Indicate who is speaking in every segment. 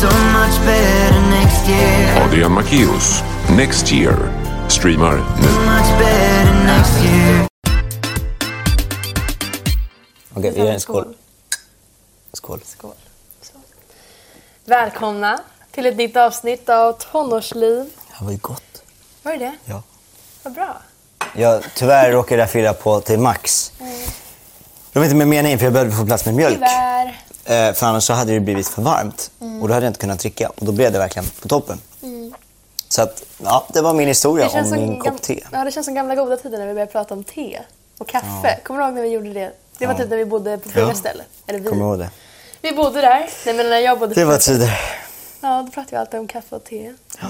Speaker 1: so much better next year.
Speaker 2: Adrian Macchius, Next Year, streamar nu.
Speaker 1: So much better next year.
Speaker 3: Okej, vi gör en skål.
Speaker 4: Skål.
Speaker 3: Skål.
Speaker 4: Skål. Så. Välkomna till ett nytt avsnitt av Tonårsliv.
Speaker 3: Det här var ju gott.
Speaker 4: Var det det?
Speaker 3: Ja.
Speaker 4: Vad bra.
Speaker 3: Jag, tyvärr råkade jag fylla på till max. Det var inte med meningen för jag behövde få plats med mjölk.
Speaker 4: Tyvärr.
Speaker 3: Eh, för annars så hade det blivit för varmt och då hade jag inte kunnat dricka. Och då blev det verkligen på toppen. Så att, ja, Mm. det var min historia om min
Speaker 4: gam-
Speaker 3: kopp te.
Speaker 4: Ja, det känns som gamla goda tider när vi började prata om te och kaffe. Kommer du ihåg när vi gjorde det? Det var
Speaker 3: Ja.
Speaker 4: typ när vi bodde på Fyrastället. Eller vi.
Speaker 3: Kommer du ihåg det?
Speaker 4: Vi bodde där. Nej, men när jag bodde
Speaker 3: Det
Speaker 4: på
Speaker 3: var typ- tider.
Speaker 4: Ja, då pratar vi alltid om kaffe och te. Ja,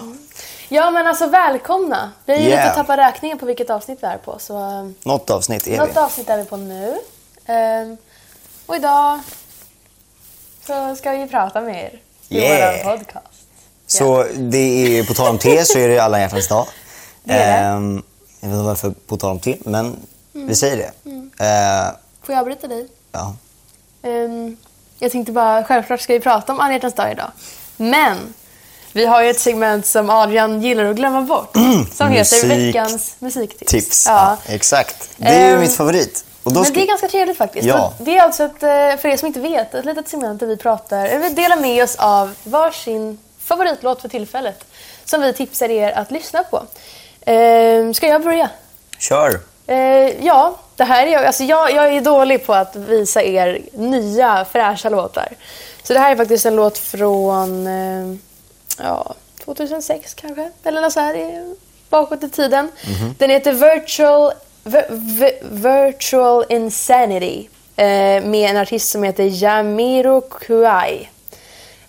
Speaker 4: ja men alltså välkomna. Vi har ju
Speaker 3: Yeah.
Speaker 4: inte tappat räkningen på vilket avsnitt vi är på. Så, eh,
Speaker 3: Något avsnitt är
Speaker 4: något
Speaker 3: vi.
Speaker 4: avsnitt är vi på nu. Ehm, och idag så ska vi prata med er i
Speaker 3: Yeah.
Speaker 4: vår podcast.
Speaker 3: Så det är, på tal om te så är det alla hjärtans dag.
Speaker 4: Det är det.
Speaker 3: Ehm, jag vet inte varför på tal om te, men vi säger det. Eh,
Speaker 4: Får jag avbryta dig?
Speaker 3: ja.
Speaker 4: Ehm, jag tänkte bara, självklart ska vi prata om alla hjärtans dag idag. Men vi har ju ett segment som Adrian gillar att glömma bort. Som heter
Speaker 3: Mm, Musik-
Speaker 4: veckans musiktips.
Speaker 3: Tips.
Speaker 4: Ja.
Speaker 3: Ja, exakt. Det är ju
Speaker 4: Ehm,
Speaker 3: mitt favorit. Och då
Speaker 4: Men
Speaker 3: ska...
Speaker 4: det är ganska trevligt faktiskt.
Speaker 3: Ja.
Speaker 4: Och Det är alltså ett, eh, för er som inte vet, ett litet segment där vi pratar, eller vi delar med oss av varsin favoritlåt för tillfället. Som vi tipsar er att lyssna på. Ehm, Ska jag börja?
Speaker 3: Kör!
Speaker 4: Eh, ja, det här är, alltså jag, jag är dålig på att visa er nya fräscha låtar. Så det här är faktiskt en låt från eh, ja, 2006 kanske, eller något så här eh, bakåt i tiden. Den heter Virtual, vi, vi, Virtual Insanity eh, med en artist som heter Jamiro Kuai.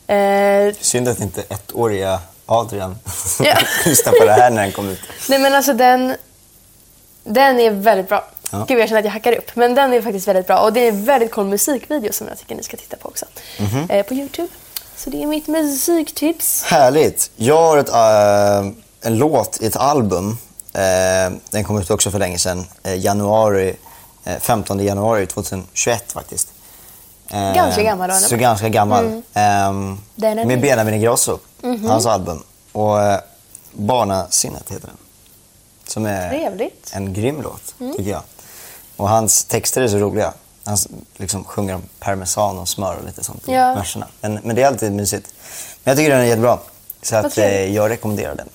Speaker 4: Eh,
Speaker 3: Synd att inte ettåriga Adrian
Speaker 4: Ja.
Speaker 3: lyssnar på det här när den kom ut.
Speaker 4: Nej men alltså den, den är väldigt bra.
Speaker 3: Ja.
Speaker 4: Gud jag känner att jag hackar upp. Men den är faktiskt väldigt bra och det är en väldigt cool musikvideo som jag tycker ni ska titta på också.
Speaker 3: Mhm.
Speaker 4: Eh, på Youtube. Så det är mitt musiktips.
Speaker 3: Härligt! Jag har ett, äh, en låt i ett album. Eh, den kom ut också för länge sedan. Eh, januari, eh, 15 januari 2021 faktiskt. Eh,
Speaker 4: Ganska gammal då, eller? Mm.
Speaker 3: Så ganska gammal. Ehm,
Speaker 4: Den är Mhm.
Speaker 3: med
Speaker 4: ny.
Speaker 3: Benjamin Ingrosso, hans album. Och eh, Barnasinnet heter den. Som är
Speaker 4: Trevligt.
Speaker 3: en grym låt, tycker jag. Och hans texter är så roliga. Han s- liksom sjunger om parmesan och smör och lite sånt i
Speaker 4: Ja.
Speaker 3: verserna. Men, men det är alltid mysigt. Men jag tycker den är jättebra. Så att,
Speaker 4: trevligt.
Speaker 3: eh, jag rekommenderar den.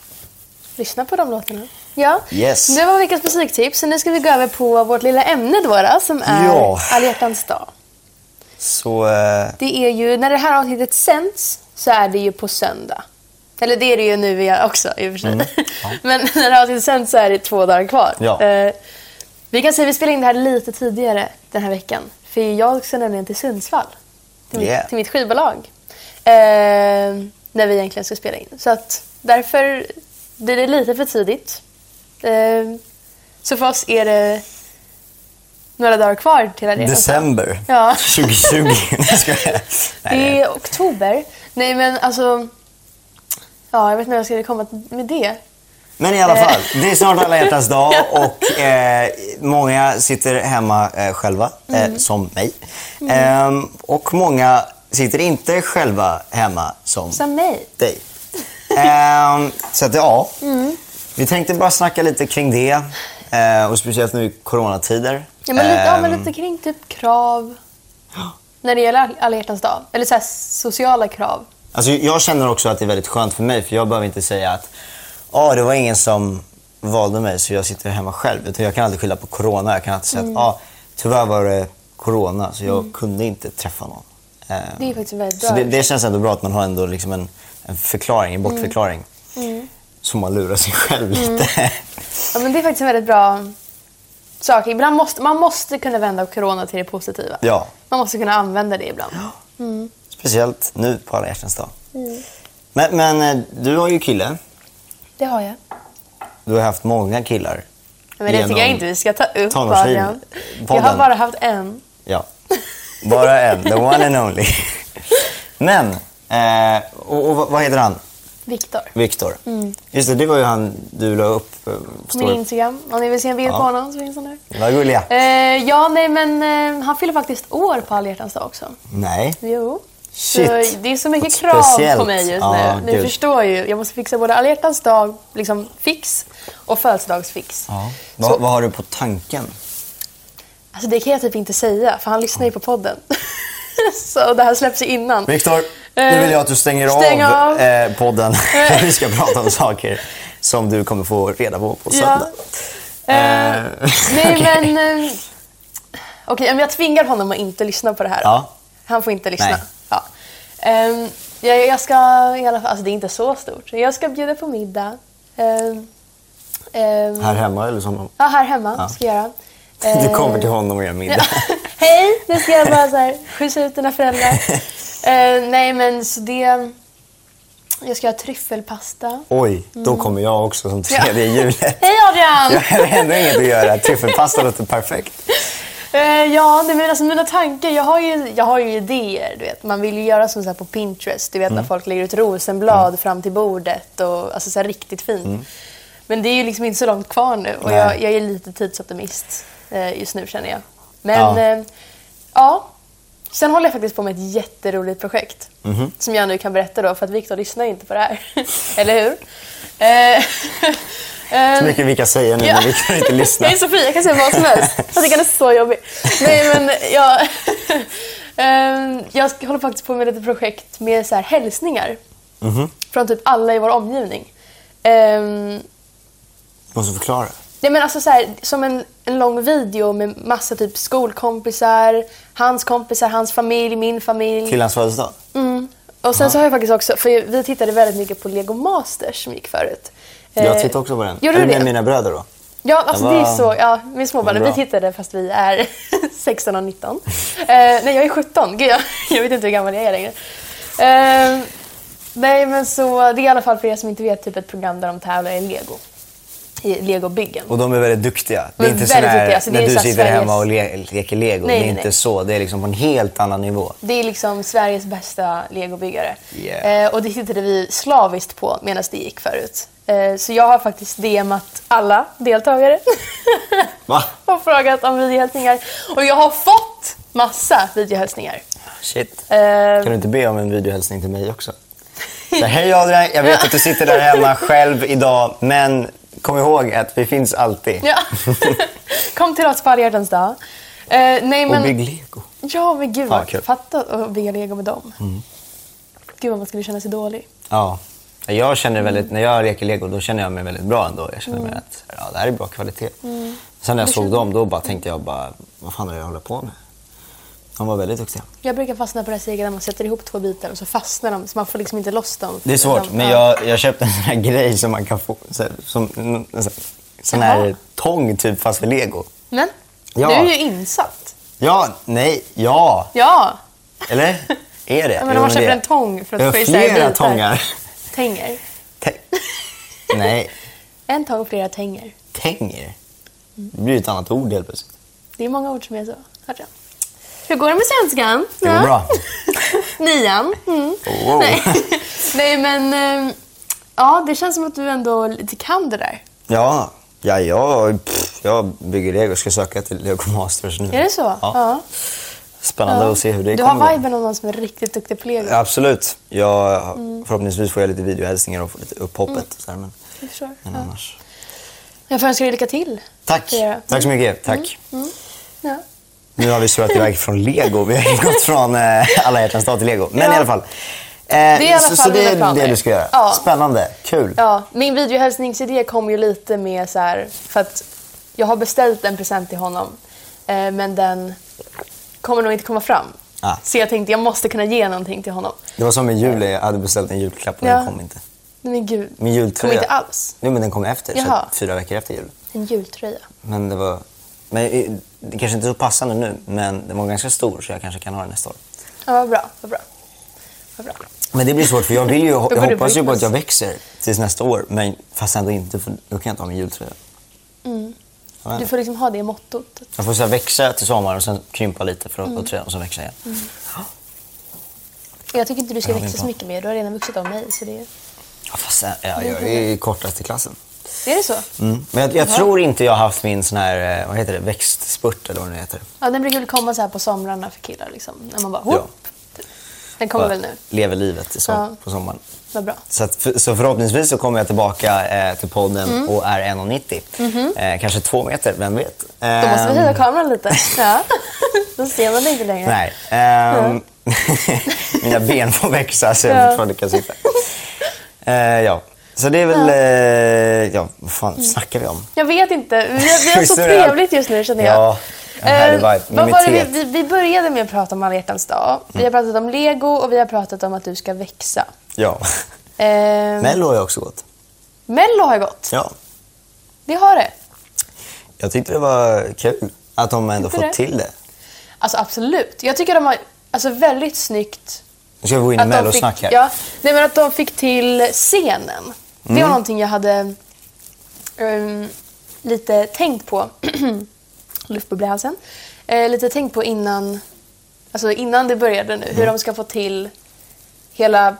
Speaker 4: Lyssna på de låtarna. Ja,
Speaker 3: Yes.
Speaker 4: det var veckans musiktips. Så nu ska vi gå över på vårt lilla ämne då, då som är
Speaker 3: Ja.
Speaker 4: Alla hjärtans dag.
Speaker 3: Så eh,
Speaker 4: Det är ju, när det här avsnittet sänds så är det ju på söndag. Eller det är det ju nu i- också i och för sig. Men när det här avsnittet sänds så är det två dagar kvar.
Speaker 3: Mm. Ja.
Speaker 4: Eh, vi kan säga att vi spelar in det här lite tidigare den här veckan. För jag ska nämligen till Sundsvall. Till,
Speaker 3: Yeah.
Speaker 4: mitt, till mitt skivbolag. Eh, när vi egentligen ska spela in. Så att därför blir det lite för tidigt. Eh, så för oss är det några dagar kvar till den resan.
Speaker 3: december
Speaker 4: Ja.
Speaker 3: 2020. Nej, ska jag.
Speaker 4: Det
Speaker 3: Nej,
Speaker 4: är oktober. Nej men alltså... Ja, jag vet inte vad jag skulle komma med det.
Speaker 3: Men i alla
Speaker 4: Eh.
Speaker 3: fall, det är snart alla hjärtans dag och eh, många sitter hemma eh, själva, eh,
Speaker 4: Mm.
Speaker 3: som mig. Ehm, och många sitter inte själva hemma, som
Speaker 4: Som mig.
Speaker 3: dig. Ehm, så att ja, vi tänkte bara snacka lite kring det. eh, och speciellt nu i coronatider.
Speaker 4: Ja, men lite, ja, men
Speaker 3: Ehm,
Speaker 4: lite kring typ krav. När det gäller alla hjärtans dag. Eller så här, sociala krav.
Speaker 3: Alltså, jag känner också att det är väldigt skönt för mig, för jag behöver inte säga att ah, det var ingen som valde mig så jag sitter hemma själv. Utan jag kan aldrig skylla på corona. Jag kan alltid
Speaker 4: Mm.
Speaker 3: säga att ah, tyvärr var det corona så jag kunde inte träffa någon. Ehm,
Speaker 4: Det är faktiskt väldigt
Speaker 3: så
Speaker 4: bra.
Speaker 3: det, det känns ändå bra att man har ändå liksom en, en förklaring, en bortförklaring.
Speaker 4: Mm.
Speaker 3: Så man lurar sig själv lite.
Speaker 4: Ja, men det är faktiskt en väldigt bra sak. Ibland måste, man måste kunna vända corona till det positiva.
Speaker 3: ja,
Speaker 4: Man måste kunna använda det ibland.
Speaker 3: speciellt nu på alla hjärtans dag.
Speaker 4: Mm.
Speaker 3: Men, men eh, du har ju kille.
Speaker 4: Det har jag.
Speaker 3: Du har haft många killar.
Speaker 4: Men det tycker jag
Speaker 3: Genom
Speaker 4: inte vi ska ta upp.
Speaker 3: tonårslivet.
Speaker 4: Adrian. Jag
Speaker 3: Podden.
Speaker 4: har bara haft en.
Speaker 3: Ja. Bara en. The one and only. Men, eh, och, och vad- vad heter han?
Speaker 4: Viktor.
Speaker 3: Viktor. Just det, det var ju han du la upp. eh,
Speaker 4: På Mm. min
Speaker 3: Story.
Speaker 4: Instagram. Om ni vill se en bild
Speaker 3: Ja.
Speaker 4: på honom så finns han där.
Speaker 3: Vad gulliga.
Speaker 4: Eh, ja, nej men eh, han fyller faktiskt år på alla hjärtans dag också.
Speaker 3: Nej,
Speaker 4: Jo.
Speaker 3: Shit.
Speaker 4: Så det är så mycket krav
Speaker 3: Speciellt.
Speaker 4: på mig just
Speaker 3: Ja,
Speaker 4: nu. Ni
Speaker 3: gud.
Speaker 4: förstår ju. Jag måste fixa både alla hjärtans dag liksom, fix och födelsedagsfix.
Speaker 3: Ja.
Speaker 4: Så-
Speaker 3: Vad, vad har du på tanken?
Speaker 4: Alltså, det kan jag typ inte säga, för han lyssnar ju på podden. så det här släpps ju innan.
Speaker 3: Viktor, nu vill jag att du stänger
Speaker 4: Stäng
Speaker 3: av,
Speaker 4: av.
Speaker 3: Eh, podden. Vi ska prata om saker som du kommer få reda på på söndag.
Speaker 4: Eh, nej,
Speaker 3: okej.
Speaker 4: men... Eh, Okej, men jag tvingar honom att inte lyssna på det här.
Speaker 3: Ja.
Speaker 4: Han får inte lyssna.
Speaker 3: Nej.
Speaker 4: Ja. Ehm, jag, jag ska i alla fall... Alltså, det är inte så stort. Jag ska bjuda på middag. Ehm, ehm,
Speaker 3: Här hemma eller som
Speaker 4: Ja, här hemma
Speaker 3: Ja.
Speaker 4: ska jag göra.
Speaker 3: Du
Speaker 4: Ehm,
Speaker 3: kommer till honom och gör middag.
Speaker 4: Hej, nu ska jag bara så här, skjutsa ut dina föräldrar. Eh, nej, men så det... Jag ska ha tryffelpasta.
Speaker 3: Oj, då kommer jag också som tredje i hjulet.
Speaker 4: Hej Adrian!
Speaker 3: Jag har ändå inget att göra. Tryffelpasta låter perfekt.
Speaker 4: Eh, ja, nej, men alltså mina tankar. Jag har ju, jag har ju idéer. Du vet. Man vill ju göra som så här på Pinterest. Du vet
Speaker 3: Mm.
Speaker 4: när folk lägger ut rosenblad fram till bordet. Och, alltså så här riktigt fint. Men det är ju liksom inte så långt kvar nu. Och
Speaker 3: Mm. Nej.
Speaker 4: jag, jag är lite tidsoptimist eh, just nu känner jag. Men
Speaker 3: Ja.
Speaker 4: ja. Eh, ja. Sen håller jag faktiskt på med ett jätteroligt projekt.
Speaker 3: Mhm.
Speaker 4: Som jag nu kan berätta då, för att Viktor lyssnar ju inte på det här. Eller hur? Eh,
Speaker 3: Så
Speaker 4: ehm,
Speaker 3: mycket vi kan säga nu, men vi kan inte lyssna.
Speaker 4: jag är så fri, jag kan säga vad som helst. Fast jag kan inte så jobbig. Nej men jag... Ehm, jag ska- håller faktiskt på med ett projekt med så här hälsningar.
Speaker 3: Mhm.
Speaker 4: Från typ alla i vår omgivning. Ehm,
Speaker 3: Måste förklara.
Speaker 4: Nej men alltså så här, som en, en lång video med massa typ skolkompisar, hans kompisar, hans familj, min familj.
Speaker 3: Till hans födelsedag?
Speaker 4: Och sen så har jag faktiskt också, för vi tittade väldigt mycket på Lego Masters som gick förut.
Speaker 3: Jag
Speaker 4: Eh,
Speaker 3: tittade också på den.
Speaker 4: Gjorde du
Speaker 3: Eller med
Speaker 4: det?
Speaker 3: mina bröder då.
Speaker 4: Ja, alltså
Speaker 3: Den
Speaker 4: det är
Speaker 3: var-
Speaker 4: så. Ja, med småbarnen.
Speaker 3: den var
Speaker 4: Vi
Speaker 3: bra.
Speaker 4: tittade fast vi är 16 och 19. Eh, nej, jag är 17. Gud, jag, jag vet inte hur gammal jag är längre. Eh, nej, men så det är i alla fall för er som inte vet typ ett program där de tävlar i Lego. I Legobyggen.
Speaker 3: Och de är väldigt duktiga. Det är inte
Speaker 4: Men väldigt
Speaker 3: så här,
Speaker 4: duktiga. Alltså, det
Speaker 3: när
Speaker 4: är
Speaker 3: du
Speaker 4: så
Speaker 3: sitter
Speaker 4: här
Speaker 3: hemma och le leker lego.
Speaker 4: Nej,
Speaker 3: det är
Speaker 4: nej,
Speaker 3: inte
Speaker 4: nej.
Speaker 3: så. Det är liksom på en helt annan nivå.
Speaker 4: Det är liksom Sveriges bästa legobyggare.
Speaker 3: Yeah.
Speaker 4: Eh, och det tittade vi slaviskt på medan det gick förut. Eh, så jag har faktiskt DMat alla deltagare.
Speaker 3: Va?
Speaker 4: och frågat om videohälsningar. Och jag har fått massa videohälsningar.
Speaker 3: Shit.
Speaker 4: Eh,
Speaker 3: Kan du inte be om en videohälsning till mig också? Så, Hej Adrian, jag vet att du sitter där hemma själv idag, men kom ihåg att vi finns alltid.
Speaker 4: ja. Kom till oss på alla hjärtans dag. Eh, nej, men,
Speaker 3: Och bygg lego.
Speaker 4: Ja, men gud.
Speaker 3: Fan, kul. Mm.
Speaker 4: fatta att bygga lego med dem. Gud vad man skulle känna sig dålig.
Speaker 3: Ja. Jag känner väldigt, när jag leker lego då känner jag mig väldigt bra ändå. Jag känner mig
Speaker 4: Mm.
Speaker 3: att ja, det här är bra kvalitet. Sen när jag såg dem då bara tänkte jag bara, vad fan är det jag håller på med? De var väldigt duktiga.
Speaker 4: Jag brukar fastna på det här steget där man sätter ihop två bitar och så fastnar de så man får liksom inte loss dem.
Speaker 3: Det är svårt,
Speaker 4: Utan-
Speaker 3: men
Speaker 4: ja.
Speaker 3: jag, jag köpte en sån här grej som man kan få, så här, som en sån- sån här
Speaker 4: Jaha.
Speaker 3: tång typ fast för lego.
Speaker 4: Men,
Speaker 3: Ja.
Speaker 4: du är ju insatt.
Speaker 3: Ja, nej, ja,
Speaker 4: Ja.
Speaker 3: eller? Är det?
Speaker 4: Jag
Speaker 3: Jo,
Speaker 4: menar, man
Speaker 3: det
Speaker 4: köper
Speaker 3: är-
Speaker 4: en tång för
Speaker 3: Jag har
Speaker 4: att få isär
Speaker 3: flera
Speaker 4: bitar.
Speaker 3: tångar.
Speaker 4: Tänger.
Speaker 3: Tä- nej,
Speaker 4: En tång, flera tänger.
Speaker 3: tänger. Det blir ju ett annat ord helt plötsligt.
Speaker 4: Det är många ord som är så. Hörde jag. Hur går det med svenskan?
Speaker 3: Det går
Speaker 4: Ja.
Speaker 3: bra.
Speaker 4: Nian. Mm.
Speaker 3: Wow.
Speaker 4: Nej. Nej, men... ehm, Ja, det känns som att du ändå lite kan det där.
Speaker 3: Ja, ja jag, pff, jag bygger lego och ska söka till Lego Masters nu.
Speaker 4: Är det så?
Speaker 3: Ja. Spännande att se hur det
Speaker 4: Du
Speaker 3: kommer
Speaker 4: har
Speaker 3: gå.
Speaker 4: viben av någon som är riktigt duktig på lego.
Speaker 3: Absolut. Jag,
Speaker 4: Mm.
Speaker 3: Förhoppningsvis får jag lite videohälsningar och får lite upphoppet. Så här, men,
Speaker 4: Jag förstår.
Speaker 3: men
Speaker 4: Mm. Ja.
Speaker 3: annars...
Speaker 4: Jag får önska dig lycka till.
Speaker 3: Tack.
Speaker 4: Ja.
Speaker 3: Tack så mycket.
Speaker 4: Mm.
Speaker 3: Tack.
Speaker 4: Ja.
Speaker 3: Nu har vi surrat iväg från lego. Vi har gått från eh, alla hjärtans dag till lego. Men
Speaker 4: Ja.
Speaker 3: i alla fall. Eh,
Speaker 4: är i alla
Speaker 3: så, så
Speaker 4: fall
Speaker 3: det
Speaker 4: mina
Speaker 3: är det
Speaker 4: planer.
Speaker 3: du ska göra.
Speaker 4: Ja.
Speaker 3: Spännande. Kul.
Speaker 4: ja. Min videohälsningsidé kom ju lite med så här... För att jag har beställt en present till honom, eh, men den kommer nog inte komma fram.
Speaker 3: Ah.
Speaker 4: Så jag tänkte jag måste kunna ge någonting till honom.
Speaker 3: Det var som med jul. Jag hade beställt en julklapp och den
Speaker 4: Ja.
Speaker 3: kom inte.
Speaker 4: Nej, Men gud,
Speaker 3: Min jultröja.
Speaker 4: kommer inte alls.
Speaker 3: Jo, men den kom efter. Så
Speaker 4: Jaha.
Speaker 3: att fyra veckor efter jul.
Speaker 4: En jultröja.
Speaker 3: Men det var... Men eh, det kanske inte är så passande nu, men den var ganska stor så jag kanske kan ha den nästa år.
Speaker 4: Ja, vad bra. Vad bra. Vad bra.
Speaker 3: Men det blir svårt för jag, vill ju, jag
Speaker 4: går det
Speaker 3: hoppas ju på
Speaker 4: Britneys.
Speaker 3: att jag växer tills nästa år. Men fast ändå inte, för då kan jag inte ha min jultröja. Jag vet inte.
Speaker 4: Mm. Du får liksom ha det mottot.
Speaker 3: Jag får så här växa till sommaren och sen krympa lite för att
Speaker 4: Mm.
Speaker 3: och tröjan och sen växa igen.
Speaker 4: Jag tycker inte du ska
Speaker 3: Ja, det är
Speaker 4: växa så
Speaker 3: bra.
Speaker 4: mycket mer. Du har redan vuxit av mig. Så det...
Speaker 3: Ja, fast jag, jag, jag är
Speaker 4: Mm.
Speaker 3: ju kortast i klassen.
Speaker 4: Är det så?
Speaker 3: Mm. Men jag, jag tror inte jag har haft min sån här, eh, vad heter det, växtspurt eller vad det nu heter.
Speaker 4: Ja, den brukar väl komma så här på somrarna för killar. Liksom, när man bara...
Speaker 3: Ja.
Speaker 4: Ja. Den kommer
Speaker 3: Bara
Speaker 4: väl nu.
Speaker 3: Lever livet i som,
Speaker 4: Ja.
Speaker 3: på sommaren.
Speaker 4: Vad bra.
Speaker 3: Så, att, för, så förhoppningsvis så kommer jag tillbaka eh, till podden
Speaker 4: Mm.
Speaker 3: och är 1,90. Eh, kanske två meter, vem vet?
Speaker 4: Mhm. Då måste vi
Speaker 3: Ehm,
Speaker 4: höja kameran lite. Ja. Då ser man det inte längre.
Speaker 3: Nej. ehm, mina ben får växa så jag
Speaker 4: Ja.
Speaker 3: fortfarande kan sitta. Eh, ja. Så det är väl... Eh, ja, vad fan snackar vi om?
Speaker 4: Jag vet inte. Vi har, vi har så
Speaker 3: Just nu är jag-
Speaker 4: trevligt just nu känner jag.
Speaker 3: Ja, en härlig
Speaker 4: Eh,
Speaker 3: vibe.
Speaker 4: vad
Speaker 3: Med
Speaker 4: var det
Speaker 3: mitt
Speaker 4: vi,
Speaker 3: te.
Speaker 4: vi, vi började med att prata om alla hjärtans dag. Vi
Speaker 3: Mm.
Speaker 4: har pratat om lego och vi har pratat om att du ska växa.
Speaker 3: Ja.
Speaker 4: Eh,
Speaker 3: Mello har jag också gått.
Speaker 4: Mello har gått.
Speaker 3: Ja.
Speaker 4: Det har det.
Speaker 3: Jag tyckte det var kul att de ändå
Speaker 4: Tyckte
Speaker 3: fått
Speaker 4: det?
Speaker 3: till det.
Speaker 4: Alltså absolut. Jag tycker de har alltså, väldigt snyggt...
Speaker 3: Nu ska vi gå in i
Speaker 4: de fick,
Speaker 3: mellosnack här.
Speaker 4: ja, nej, men att de fick till scenen. Det
Speaker 3: Mm.
Speaker 4: var någonting jag hade ehm, lite tänkt på. Luftbubbla i halsen. Eh, lite tänkt på innan, alltså innan det började nu.
Speaker 3: Mm.
Speaker 4: Hur de ska få till hela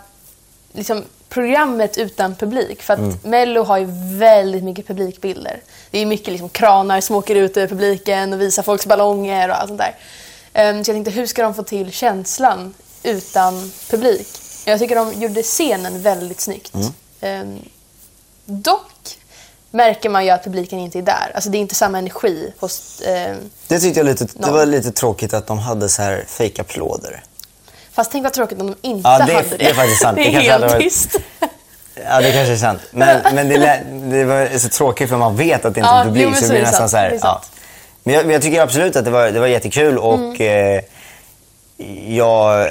Speaker 4: liksom, programmet utan publik. För att
Speaker 3: Mm.
Speaker 4: Mello har ju väldigt mycket publikbilder. Det är mycket liksom, kranar som åker ut över publiken och visar folks ballonger och allt sånt där. Ehm, så jag tänkte, hur ska de få till känslan utan publik? Jag tycker de gjorde scenen väldigt snyggt.
Speaker 3: Mm.
Speaker 4: Ehm, dock märker man ju att publiken inte är där. Alltså det är inte samma energi hos... ehm,
Speaker 3: Det tyckte jag lite, det
Speaker 4: Någon.
Speaker 3: var lite tråkigt att de hade så här fake applåder.
Speaker 4: fast tänk vad tråkigt om de inte
Speaker 3: Ja, det är-
Speaker 4: hade det.
Speaker 3: det är faktiskt sant.
Speaker 4: Det
Speaker 3: Det
Speaker 4: är
Speaker 3: kanske hade
Speaker 4: helt
Speaker 3: varit-
Speaker 4: tyst.
Speaker 3: Ja, det kanske är sant. Men, men det, lä- det var så tråkigt för man vet att det inte
Speaker 4: Ja,
Speaker 3: är publik.
Speaker 4: jo, men
Speaker 3: så det
Speaker 4: så är
Speaker 3: blir
Speaker 4: det
Speaker 3: nästan
Speaker 4: sant.
Speaker 3: så här,
Speaker 4: Det är
Speaker 3: ja.
Speaker 4: sant.
Speaker 3: Men jag, men jag tycker absolut att det var, det var jättekul och
Speaker 4: Mm.
Speaker 3: eh, jag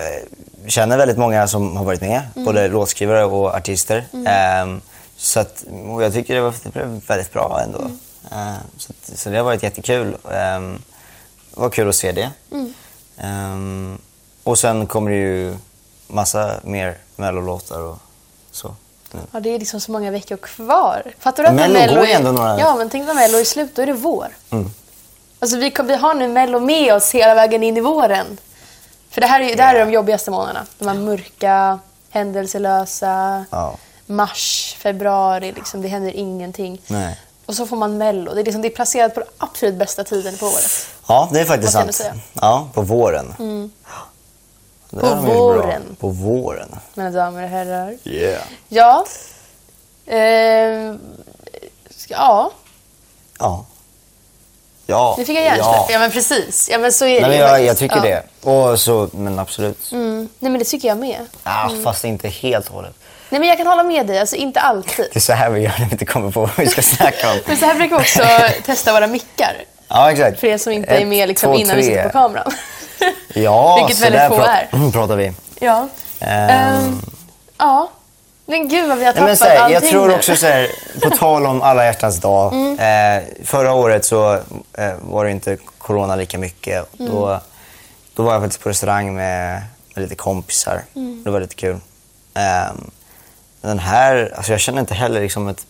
Speaker 3: känner väldigt många som har varit med.
Speaker 4: Mm.
Speaker 3: Både låtskrivare och artister. Ehm, så att, och jag tycker det, var, det blev väldigt bra ändå.
Speaker 4: Mm.
Speaker 3: Ehm, så, att, så det har varit jättekul. Ehm, det var kul att se det.
Speaker 4: Mm.
Speaker 3: Ehm, och sen kommer det ju massa mer mellolåtar och så. nu.
Speaker 4: Ja, det är liksom så många veckor kvar. Fattar du att
Speaker 3: Mello
Speaker 4: när
Speaker 3: går
Speaker 4: är...
Speaker 3: ju ändå några- Mm.
Speaker 4: Ja, men tänk när Mello är slut, då är det vår. Alltså vi, kom, vi har nu Mello med oss hela vägen in i våren. För det här är, ju- det här är de jobbigaste månaderna. De här mörka, händelselösa.
Speaker 3: Ja.
Speaker 4: Mars, februari, liksom, det händer ingenting.
Speaker 3: Nej.
Speaker 4: Och så får man Mello. Det är, liksom, det är placerat på den absolut bästa tiden på året.
Speaker 3: Ja, det är faktiskt
Speaker 4: Måste jag
Speaker 3: sant.
Speaker 4: ändå
Speaker 3: Ja, på våren. Det
Speaker 4: Mm. På
Speaker 3: har de gjort bra.
Speaker 4: våren.
Speaker 3: På våren.
Speaker 4: Mina damer och herrar.
Speaker 3: Yeah.
Speaker 4: Ja. Ehm, ska- ja,
Speaker 3: Ja. Ja.
Speaker 4: nu fick jag hjärnsläpp. Ja.
Speaker 3: ja.
Speaker 4: men precis. Ja men så
Speaker 3: Nej,
Speaker 4: är det
Speaker 3: men
Speaker 4: ju
Speaker 3: jag,
Speaker 4: faktiskt.
Speaker 3: jag tycker
Speaker 4: ja.
Speaker 3: det. Och så, men absolut.
Speaker 4: Mm. Nej men det tycker jag med.
Speaker 3: Ah, Fast inte helt och hållet.
Speaker 4: Nej men jag kan hålla med dig, alltså inte alltid.
Speaker 3: Det är så här vi gör när vi inte kommer på vad vi ska snacka om.
Speaker 4: Men så här brukar vi också testa våra mickar.
Speaker 3: Ja, exakt.
Speaker 4: För er som inte är
Speaker 3: Ett,
Speaker 4: med liksom,
Speaker 3: två,
Speaker 4: innan vi
Speaker 3: tre.
Speaker 4: sitter på kameran.
Speaker 3: Ja,
Speaker 4: Vilket
Speaker 3: så
Speaker 4: väldigt
Speaker 3: där
Speaker 4: få är.
Speaker 3: pra- pratar vi.
Speaker 4: Ja.
Speaker 3: Ehm,
Speaker 4: Ehm, ja. Men gud vad vi
Speaker 3: Nej,
Speaker 4: har tappat
Speaker 3: men så här,
Speaker 4: allting
Speaker 3: jag tror
Speaker 4: nu. Mm.
Speaker 3: också så här, på tal om alla hjärtans dag. Eh, förra året så eh, var det inte corona lika mycket.
Speaker 4: Mm.
Speaker 3: Då, då var jag faktiskt på restaurang med, med lite kompisar.
Speaker 4: Mm.
Speaker 3: Det var lite kul. Ehm, den här, alltså jag känner inte heller liksom ett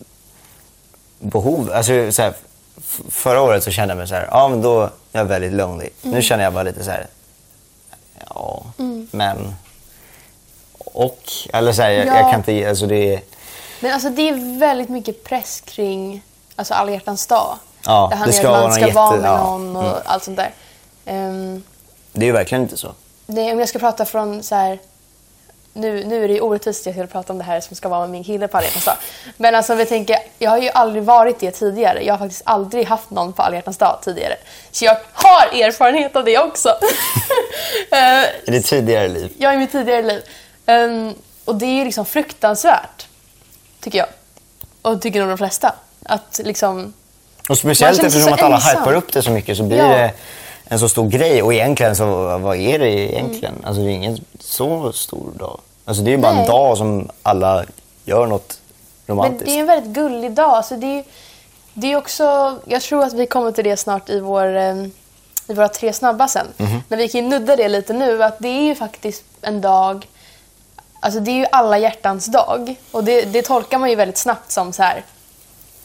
Speaker 3: behov. Alltså, så här, f- förra året så kände jag mig så här, ja men då är jag väldigt lonely.
Speaker 4: Mm.
Speaker 3: Nu känner jag bara lite så här, ja, men... Och, eller så här, jag, jag
Speaker 4: Ja.
Speaker 3: kan inte ge, alltså det är...
Speaker 4: Men alltså det är väldigt mycket press kring alltså, alla hjärtans dag.
Speaker 3: Ja,
Speaker 4: det handlar
Speaker 3: det
Speaker 4: ju
Speaker 3: ska
Speaker 4: om att
Speaker 3: vara
Speaker 4: man ska
Speaker 3: någon
Speaker 4: vara
Speaker 3: jätte-
Speaker 4: med
Speaker 3: ja. Mm.
Speaker 4: någon och allt sånt där. Ehm,
Speaker 3: Det är ju verkligen inte så.
Speaker 4: nej, om jag ska prata från så här... Nu, nu är det ju orättvist att jag skulle prata om det här som ska vara med min kille på alla hjärtans dag. Men alltså om vi tänker, jag har ju aldrig varit det tidigare. Jag har faktiskt aldrig haft någon på alla hjärtans dag tidigare. Så jag har erfarenhet av det också. Ehm,
Speaker 3: I det tidigare liv.
Speaker 4: jag i mitt tidigare liv. Ehm, och det är ju liksom fruktansvärt, tycker jag. Och tycker nog de flesta. Att liksom...
Speaker 3: Och
Speaker 4: Man
Speaker 3: speciellt
Speaker 4: känner sig
Speaker 3: eftersom att
Speaker 4: så
Speaker 3: alla
Speaker 4: ensam.
Speaker 3: hypar upp det så mycket så blir
Speaker 4: Ja.
Speaker 3: det en så stor grej. Och egentligen så, vad är det egentligen? Alltså det är ingen så stor dag. Alltså det är ju bara
Speaker 4: Mm.
Speaker 3: en
Speaker 4: Nej.
Speaker 3: dag som alla gör något
Speaker 4: Men
Speaker 3: romantiskt.
Speaker 4: det är ju en väldigt gullig dag. Alltså det är ju det är också... Jag tror att vi kommer till det snart i, vår, ehm, i våra tre snabba sen.
Speaker 3: Mhm.
Speaker 4: Men vi kan ju nudda det lite nu. Att det är ju faktiskt en dag... Alltså det är ju alla hjärtans dag. Och det, det tolkar man ju väldigt snabbt som så här...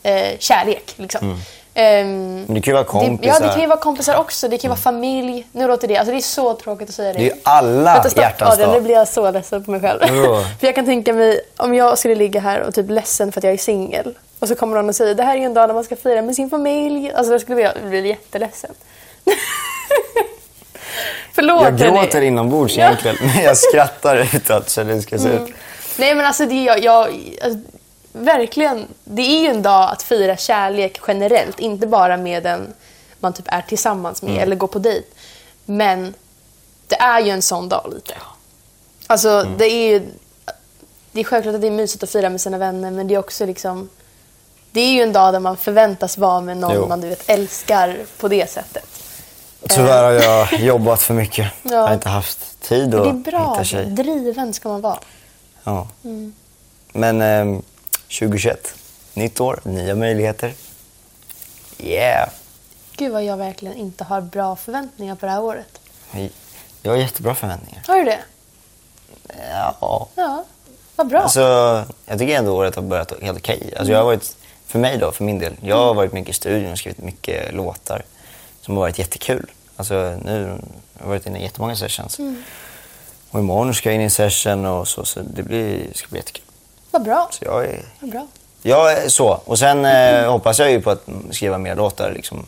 Speaker 4: Eh, kärlek, liksom. Ehm,
Speaker 3: Mm. Men det kan ju vara
Speaker 4: Det,
Speaker 3: kompisar. Mm.
Speaker 4: ja, det kan ju vara kompisar också. Det kan ju vara familj. Nu låter det... Alltså det är så tråkigt att säga det.
Speaker 3: Det är ju alla
Speaker 4: Vänta, stopp,
Speaker 3: hjärtans
Speaker 4: Adrian,
Speaker 3: dag.
Speaker 4: nu blir jag så ledsen på mig själv.
Speaker 3: Vadå?
Speaker 4: för jag kan tänka mig, om jag skulle ligga här och typ ledsen för att jag är singel och så kommer någon och säger det här är ju en dag när man ska fira med sin familj. Alltså då skulle jag bli jätteledsen. Förlåt
Speaker 3: Jag
Speaker 4: hörni.
Speaker 3: gråter inombords egentligen, men jag skrattar utåt så det ska se
Speaker 4: Mm.
Speaker 3: ut.
Speaker 4: Nej men alltså, det, jag, jag, alltså, verkligen, det är ju en dag att fira kärlek generellt, inte bara med den man typ är tillsammans med eller går på dejt. Men det är ju en sån dag lite. Alltså det är ju, det är självklart att det är mysigt att fira med sina vänner men det är också liksom, det är ju en dag där man förväntas vara med någon
Speaker 3: Jo.
Speaker 4: man du vet älskar på det sättet.
Speaker 3: Tyvärr har jag jobbat för mycket.
Speaker 4: Ja.
Speaker 3: Jag har inte haft tid
Speaker 4: Men
Speaker 3: att
Speaker 4: det är bra,
Speaker 3: hitta tjej.
Speaker 4: driven ska man vara.
Speaker 3: Ja. Men eh, 2021, nytt år, nya möjligheter. Yeah!
Speaker 4: Gud vad jag verkligen inte har bra förväntningar på det här året.
Speaker 3: Jag har jättebra förväntningar.
Speaker 4: Har du det?
Speaker 3: Ja.
Speaker 4: Ja, vad bra.
Speaker 3: Alltså, jag tycker ändå året har börjat helt okej. Alltså, jag har varit, för mig då, för min del, jag har varit mycket i studion och skrivit mycket låtar som har varit jättekul. Alltså, nu har jag varit inne i jättemånga sessions. Och imorgon ska jag in i en session och så, så det blir, ska bli jättekul.
Speaker 4: Vad bra.
Speaker 3: Så jag är
Speaker 4: Vad bra.
Speaker 3: Ja, så. Och sen eh, hoppas jag ju på att skriva mer låtar. Liksom.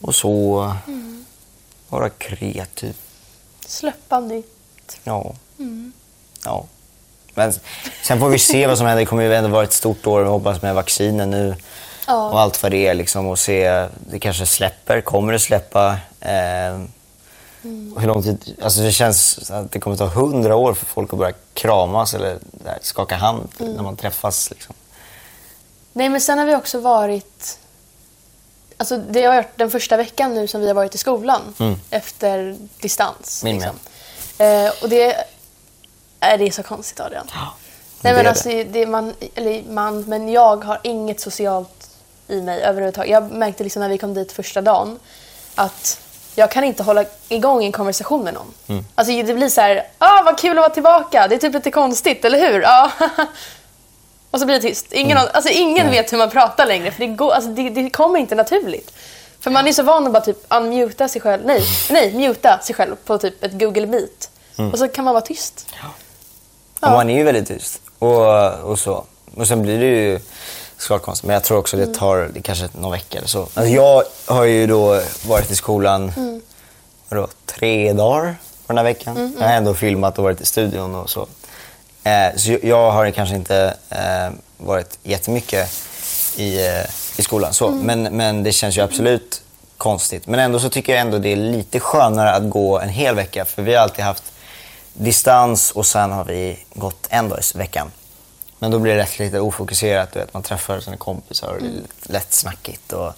Speaker 3: Och så vara kreativ.
Speaker 4: Släppande. Mm.
Speaker 3: Ja. ja. Men sen får vi se vad som händer. Det kommer ju ändå vara ett stort år. Vi hoppas med vaccinen nu
Speaker 4: Ja.
Speaker 3: och allt vad det är. Liksom, och se, det kanske släpper. Kommer det släppa? Eh, Hur lång tid? Alltså, det känns att det kommer ta hundra år för folk att börja kramas eller där, skaka hand när man träffas. Liksom.
Speaker 4: Nej, men sen har vi också varit... Alltså, det har varit den första veckan nu som vi har varit i skolan efter distans.
Speaker 3: Mm.
Speaker 4: liksom.
Speaker 3: Min
Speaker 4: Eh, och det... Är Äh, det är så konstigt, Adrian? Nej,
Speaker 3: det
Speaker 4: men
Speaker 3: är
Speaker 4: alltså, det är man, eller man, men jag har inget socialt i mig överhuvudtaget. Jag märkte liksom när vi kom dit första dagen att jag kan inte hålla igång en konversation med någon.
Speaker 3: Mm.
Speaker 4: Alltså, det blir så här, ah, vad kul att vara tillbaka. Det är typ lite konstigt, eller hur? Ja. Och så blir det tyst. Ingen,
Speaker 3: Mm.
Speaker 4: an- alltså, ingen vet hur man pratar längre, för det, går, alltså, det, det kommer inte naturligt. För man är så van att bara typ unmuta sig själv, nej, nej, muta sig själv på typ ett Google Meet.
Speaker 3: Mm.
Speaker 4: Och så kan man vara tyst.
Speaker 3: Och man är ju väldigt tyst. Och, och så. Och sen blir det ju såklart konstigt. Men jag tror också det tar det kanske någon vecka eller så. Alltså jag har ju då varit i skolan vadå, tre dagar på den här veckan. Jag har ändå filmat och varit i studion och så. Eh, så jag- jag har kanske inte eh, varit jättemycket i, eh, i skolan. Så. Men, men det känns ju absolut konstigt. Men ändå så tycker jag ändå det är lite skönare att gå en hel vecka. För vi har alltid haft distans och sen har vi gått en dag i veckan. Men då blir det lätt lite ofokuserat. Du vet, man träffar sina kompisar och det är lite lätt snackigt. Och,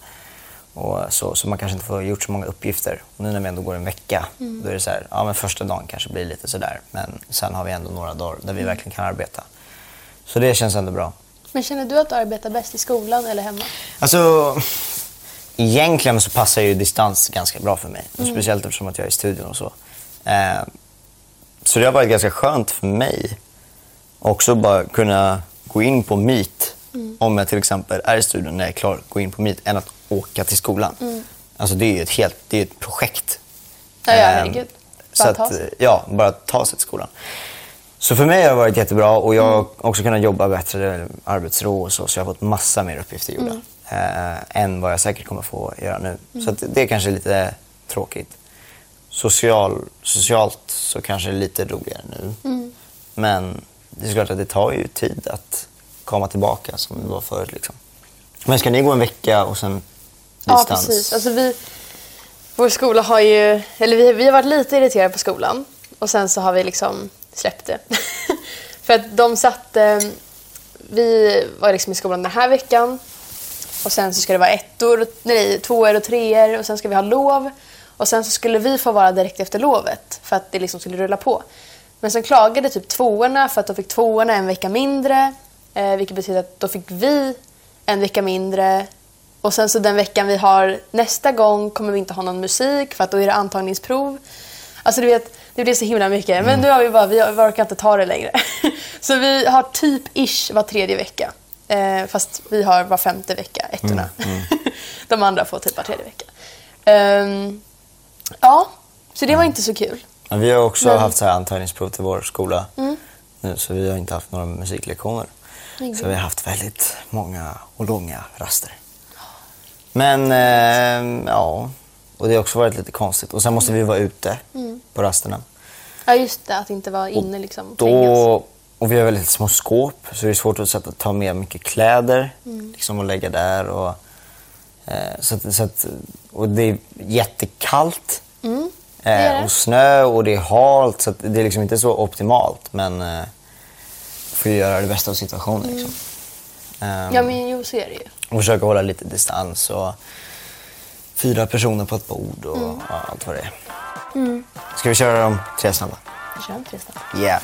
Speaker 3: och så, så man kanske inte får gjort så många uppgifter. Och nu när vi ändå går en vecka, då är det så här, ja men första dagen kanske blir lite sådär. Men sen har vi ändå några dagar där vi verkligen kan arbeta. Så det känns ändå bra.
Speaker 4: Men känner du att du arbetar bäst i skolan eller hemma?
Speaker 3: Alltså, egentligen så passar ju distans ganska bra för mig. Och Speciellt eftersom att jag är i studion och så. Eh, så det har varit ganska skönt för mig också bara kunna gå in på Meet om jag till exempel är i studion när jag är klar, gå in på Meet, än att åka till skolan. Alltså det är ju ett, helt, det är ett projekt.
Speaker 4: Ja, ja,
Speaker 3: Ehm,
Speaker 4: herregud.
Speaker 3: så
Speaker 4: Bara
Speaker 3: att, eh,
Speaker 4: ta sig.
Speaker 3: Ja, bara ta sig till skolan. Så för mig har det varit jättebra och jag
Speaker 4: Mm.
Speaker 3: har också kunnat jobba bättre, arbetsro och så, så jag har fått massa mer uppgifter gjorda
Speaker 4: Mm.
Speaker 3: eh, än vad jag säkert kommer få göra nu. Så att det är kanske lite tråkigt. Social, socialt så kanske det är lite roligare nu.
Speaker 4: Mm.
Speaker 3: Men det är klart att det tar ju tid att komma tillbaka som det var förut. Liksom. Men ska ni gå en vecka och sen distans?
Speaker 4: Ja, precis. Alltså, vi, vår skola har ju... Eller vi, vi har varit lite irriterade på skolan och sen så har vi liksom släppt det. För att de satte... Vi var liksom i skolan den här veckan och sen så ska det vara ettor, nej, tvåor och treor och sen ska vi ha lov. Och sen så skulle vi få vara direkt efter lovet för att det liksom skulle rulla på. Men sen klagade typ tvåorna för att då fick tvåorna en vecka mindre. Eh, vilket betyder att då fick vi en vecka mindre. Och sen så den veckan vi har nästa gång kommer vi inte ha någon musik för att då är det antagningsprov. Alltså du vet, det blir så himla mycket. Men nu har vi bara, vi orkar inte ta det längre. så vi har typ ish var tredje vecka. Eh, fast vi har var femte vecka, ettorna. De andra får typ var tredje vecka. Ehm, ja, så det var inte så kul.
Speaker 3: Ja, vi har också
Speaker 4: Men- Mm.
Speaker 3: haft så här antagningsprov till vår skola nu, så vi har inte haft några musiklektioner.
Speaker 4: Men
Speaker 3: Så
Speaker 4: gud.
Speaker 3: vi har haft väldigt många och långa raster. Men, eh, ja. Och det har också varit lite konstigt. Och sen måste vi vara ute
Speaker 4: Mm.
Speaker 3: på rasterna.
Speaker 4: Ja, just det. Att inte vara inne liksom. och trängas.
Speaker 3: Då, och vi har väldigt små skåp så det är svårt att sätta, ta med mycket kläder
Speaker 4: Mm.
Speaker 3: liksom, och lägga där. Och, eh, så att, så att, och det är jättekallt
Speaker 4: är
Speaker 3: eh,
Speaker 4: Mm, det.
Speaker 3: och snö och det är halt så att det är liksom inte så optimalt men eh, får ju göra det bästa av situationen. Liksom. Ehm,
Speaker 4: Mm. Ja, men jo, så är det ju.
Speaker 3: och försöka hålla lite distans och fyra personer på ett bord och
Speaker 4: Mm.
Speaker 3: ja, allt vad det är. Ska vi köra de tre snabba?
Speaker 4: Vi kör en tre snabba.
Speaker 3: Yeah.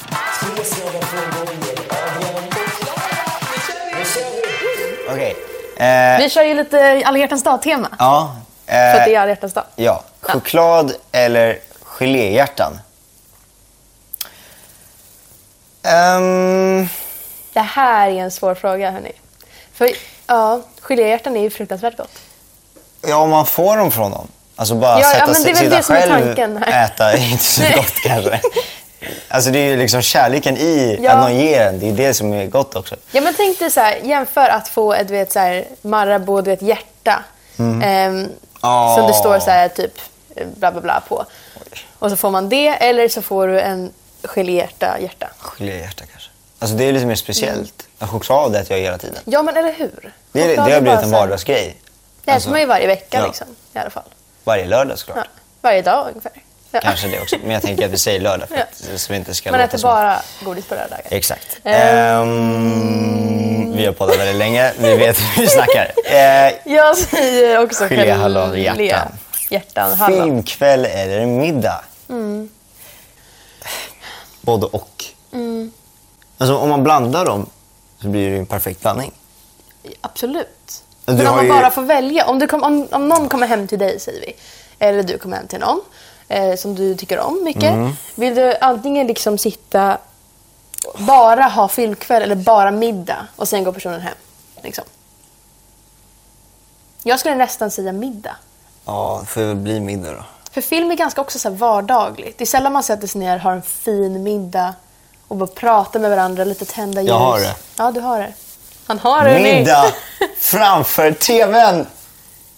Speaker 3: Okej. Eh,
Speaker 4: Vi kör ju lite alla hjärtans dag-tema.
Speaker 3: ja.
Speaker 4: För att det
Speaker 3: Eh,
Speaker 4: är alla hjärtans dag.
Speaker 3: ja. Choklad eller geléhjärtan? Ehm,
Speaker 4: Det här är en svår fråga, hörni. För ja, geléhjärtan är ju fruktansvärt gott.
Speaker 3: ja, om man får dem från dem. Alltså bara
Speaker 4: Ja, ja,
Speaker 3: sätta
Speaker 4: men
Speaker 3: sig-
Speaker 4: det är väl
Speaker 3: sitta
Speaker 4: det som är
Speaker 3: själv
Speaker 4: tanken här.
Speaker 3: äta är inte så
Speaker 4: Nej.
Speaker 3: gott kanske. Alltså det är ju liksom kärleken i
Speaker 4: Ja.
Speaker 3: att någon ger en. Det är det som är gott också.
Speaker 4: Ja, men tänk dig så här, jämför att få ett du vet, så här, Marabou, du vet, hjärta. ehm,
Speaker 3: Mm. Ja.
Speaker 4: Som det står så här, typ eh, bla bla bla på. Och så får man det, eller så får du en geléhjärta hjärta.
Speaker 3: Geléhjärta kanske. Alltså det är lite mer speciellt. Choklad äter jag hela tiden.
Speaker 4: Ja, men eller hur?
Speaker 3: Det, är, det
Speaker 4: Mm. Choklad
Speaker 3: har
Speaker 4: bara
Speaker 3: blivit en
Speaker 4: så här-
Speaker 3: vardagsgrej.
Speaker 4: Det
Speaker 3: Alltså,
Speaker 4: äter man ju varje vecka
Speaker 3: ja.
Speaker 4: liksom, i alla fall.
Speaker 3: Varje lördag såklart.
Speaker 4: Ja. Varje dag ungefär. Ja.
Speaker 3: Kanske det också. Men jag tänker att vi säger lördag för
Speaker 4: Ja.
Speaker 3: att, så vi inte ska
Speaker 4: Man
Speaker 3: låta
Speaker 4: äter
Speaker 3: som...
Speaker 4: bara Eh. godis på röda dagar.
Speaker 3: Exakt. Ehm, vi har poddat väldigt länge. Vi vet hur vi snackar. Eh,
Speaker 4: Jag säger också
Speaker 3: Geléhallon,
Speaker 4: gelé.
Speaker 3: hjärtan.
Speaker 4: Hjärtan, hallon.
Speaker 3: filmkväll eller middag?
Speaker 4: Mm.
Speaker 3: Både och.
Speaker 4: Mm.
Speaker 3: Alltså om man blandar dem så blir det ju en perfekt blandning.
Speaker 4: Absolut.
Speaker 3: Du
Speaker 4: Men
Speaker 3: har
Speaker 4: om man
Speaker 3: ju-
Speaker 4: bara får välja. Om, du kom, om, om någon kommer hem till dig, säger vi, eller du kommer hem till någon eh, som du tycker om mycket.
Speaker 3: Mm.
Speaker 4: Vill du antingen liksom sitta bara ha filmkväll eller bara middag och sen går personen hem? Liksom. Jag skulle nästan säga middag.
Speaker 3: Ja, det får väl bli middag då.
Speaker 4: För film är ganska också så här vardagligt. Det är sällan man sätter sig ner, har en fin middag och bara pratar med varandra, lite tända ljus.
Speaker 3: Jag har det.
Speaker 4: Ja, du har det. Han har det, hörni.
Speaker 3: Middag framför TVn!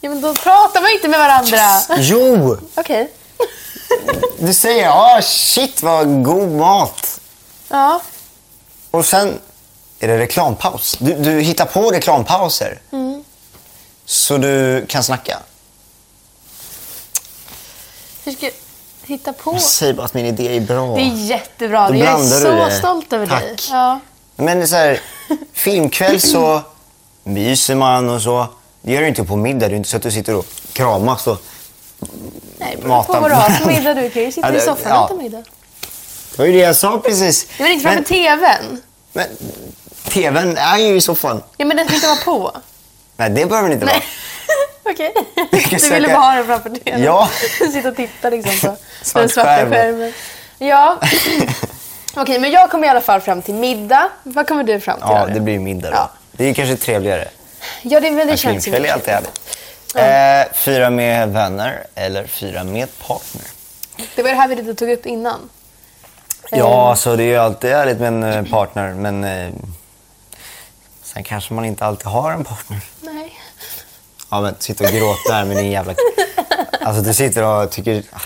Speaker 4: Ja, men då pratar man inte med varandra.
Speaker 3: Jo!
Speaker 4: Okej.
Speaker 3: Du säger ja, shit vad god mat.
Speaker 4: Ja.
Speaker 3: Och sen är det reklampaus. Du, du hittar på reklampauser.
Speaker 4: Mm.
Speaker 3: Så du kan snacka.
Speaker 4: Hur ska jag hitta på?
Speaker 3: Säg bara att min idé är bra.
Speaker 4: Det är jättebra.
Speaker 3: Då
Speaker 4: jag
Speaker 3: blandar du
Speaker 4: är så
Speaker 3: det.
Speaker 4: stolt över dig.
Speaker 3: Tack.
Speaker 4: Ja.
Speaker 3: Men så här, filmkväll så myser man och så. Det gör du inte på middag. Det är inte så att du sitter och kramas. Och...
Speaker 4: Nej, det beror
Speaker 3: Mata
Speaker 4: på vad du har för
Speaker 3: varandra.
Speaker 4: middag. Du kan ju sitta
Speaker 3: Ja,
Speaker 4: i
Speaker 3: det-
Speaker 4: soffan
Speaker 3: ja.
Speaker 4: och äta middag.
Speaker 3: Det var ju det jag sa precis.
Speaker 4: Ja, men inte framför TVn.
Speaker 3: men TVn är ju i soffan.
Speaker 4: Ja, men den ska inte vara på.
Speaker 3: Nej, det behöver den inte vara.
Speaker 4: Nej. Okej.
Speaker 3: kan
Speaker 4: Du ville
Speaker 3: söka-
Speaker 4: bara ha den framför TVn.
Speaker 3: Ja.
Speaker 4: Sitta och titta liksom på
Speaker 3: Svart
Speaker 4: den svarta
Speaker 3: skärm.
Speaker 4: skärmen. Ja. Okej, men jag kommer i alla fall fram till middag. Vad kommer du fram till?
Speaker 3: Ja,
Speaker 4: Harry?
Speaker 3: det blir ju middag då.
Speaker 4: Ja.
Speaker 3: Det är ju kanske trevligare.
Speaker 4: Ja, det, men det
Speaker 3: Men
Speaker 4: känns ju...
Speaker 3: filmkväll är
Speaker 4: mycket.
Speaker 3: alltid härligt. Eh, fyra med vänner eller fyra med partner?
Speaker 4: Det var det här vi lite tog upp innan.
Speaker 3: Ja, alltså det är ju alltid härligt med en eh, partner, men eh, sen kanske man inte alltid har en partner.
Speaker 4: Nej.
Speaker 3: Ja, men sitta och gråta här med din jävla... Alltså du sitter och tycker... "Ah,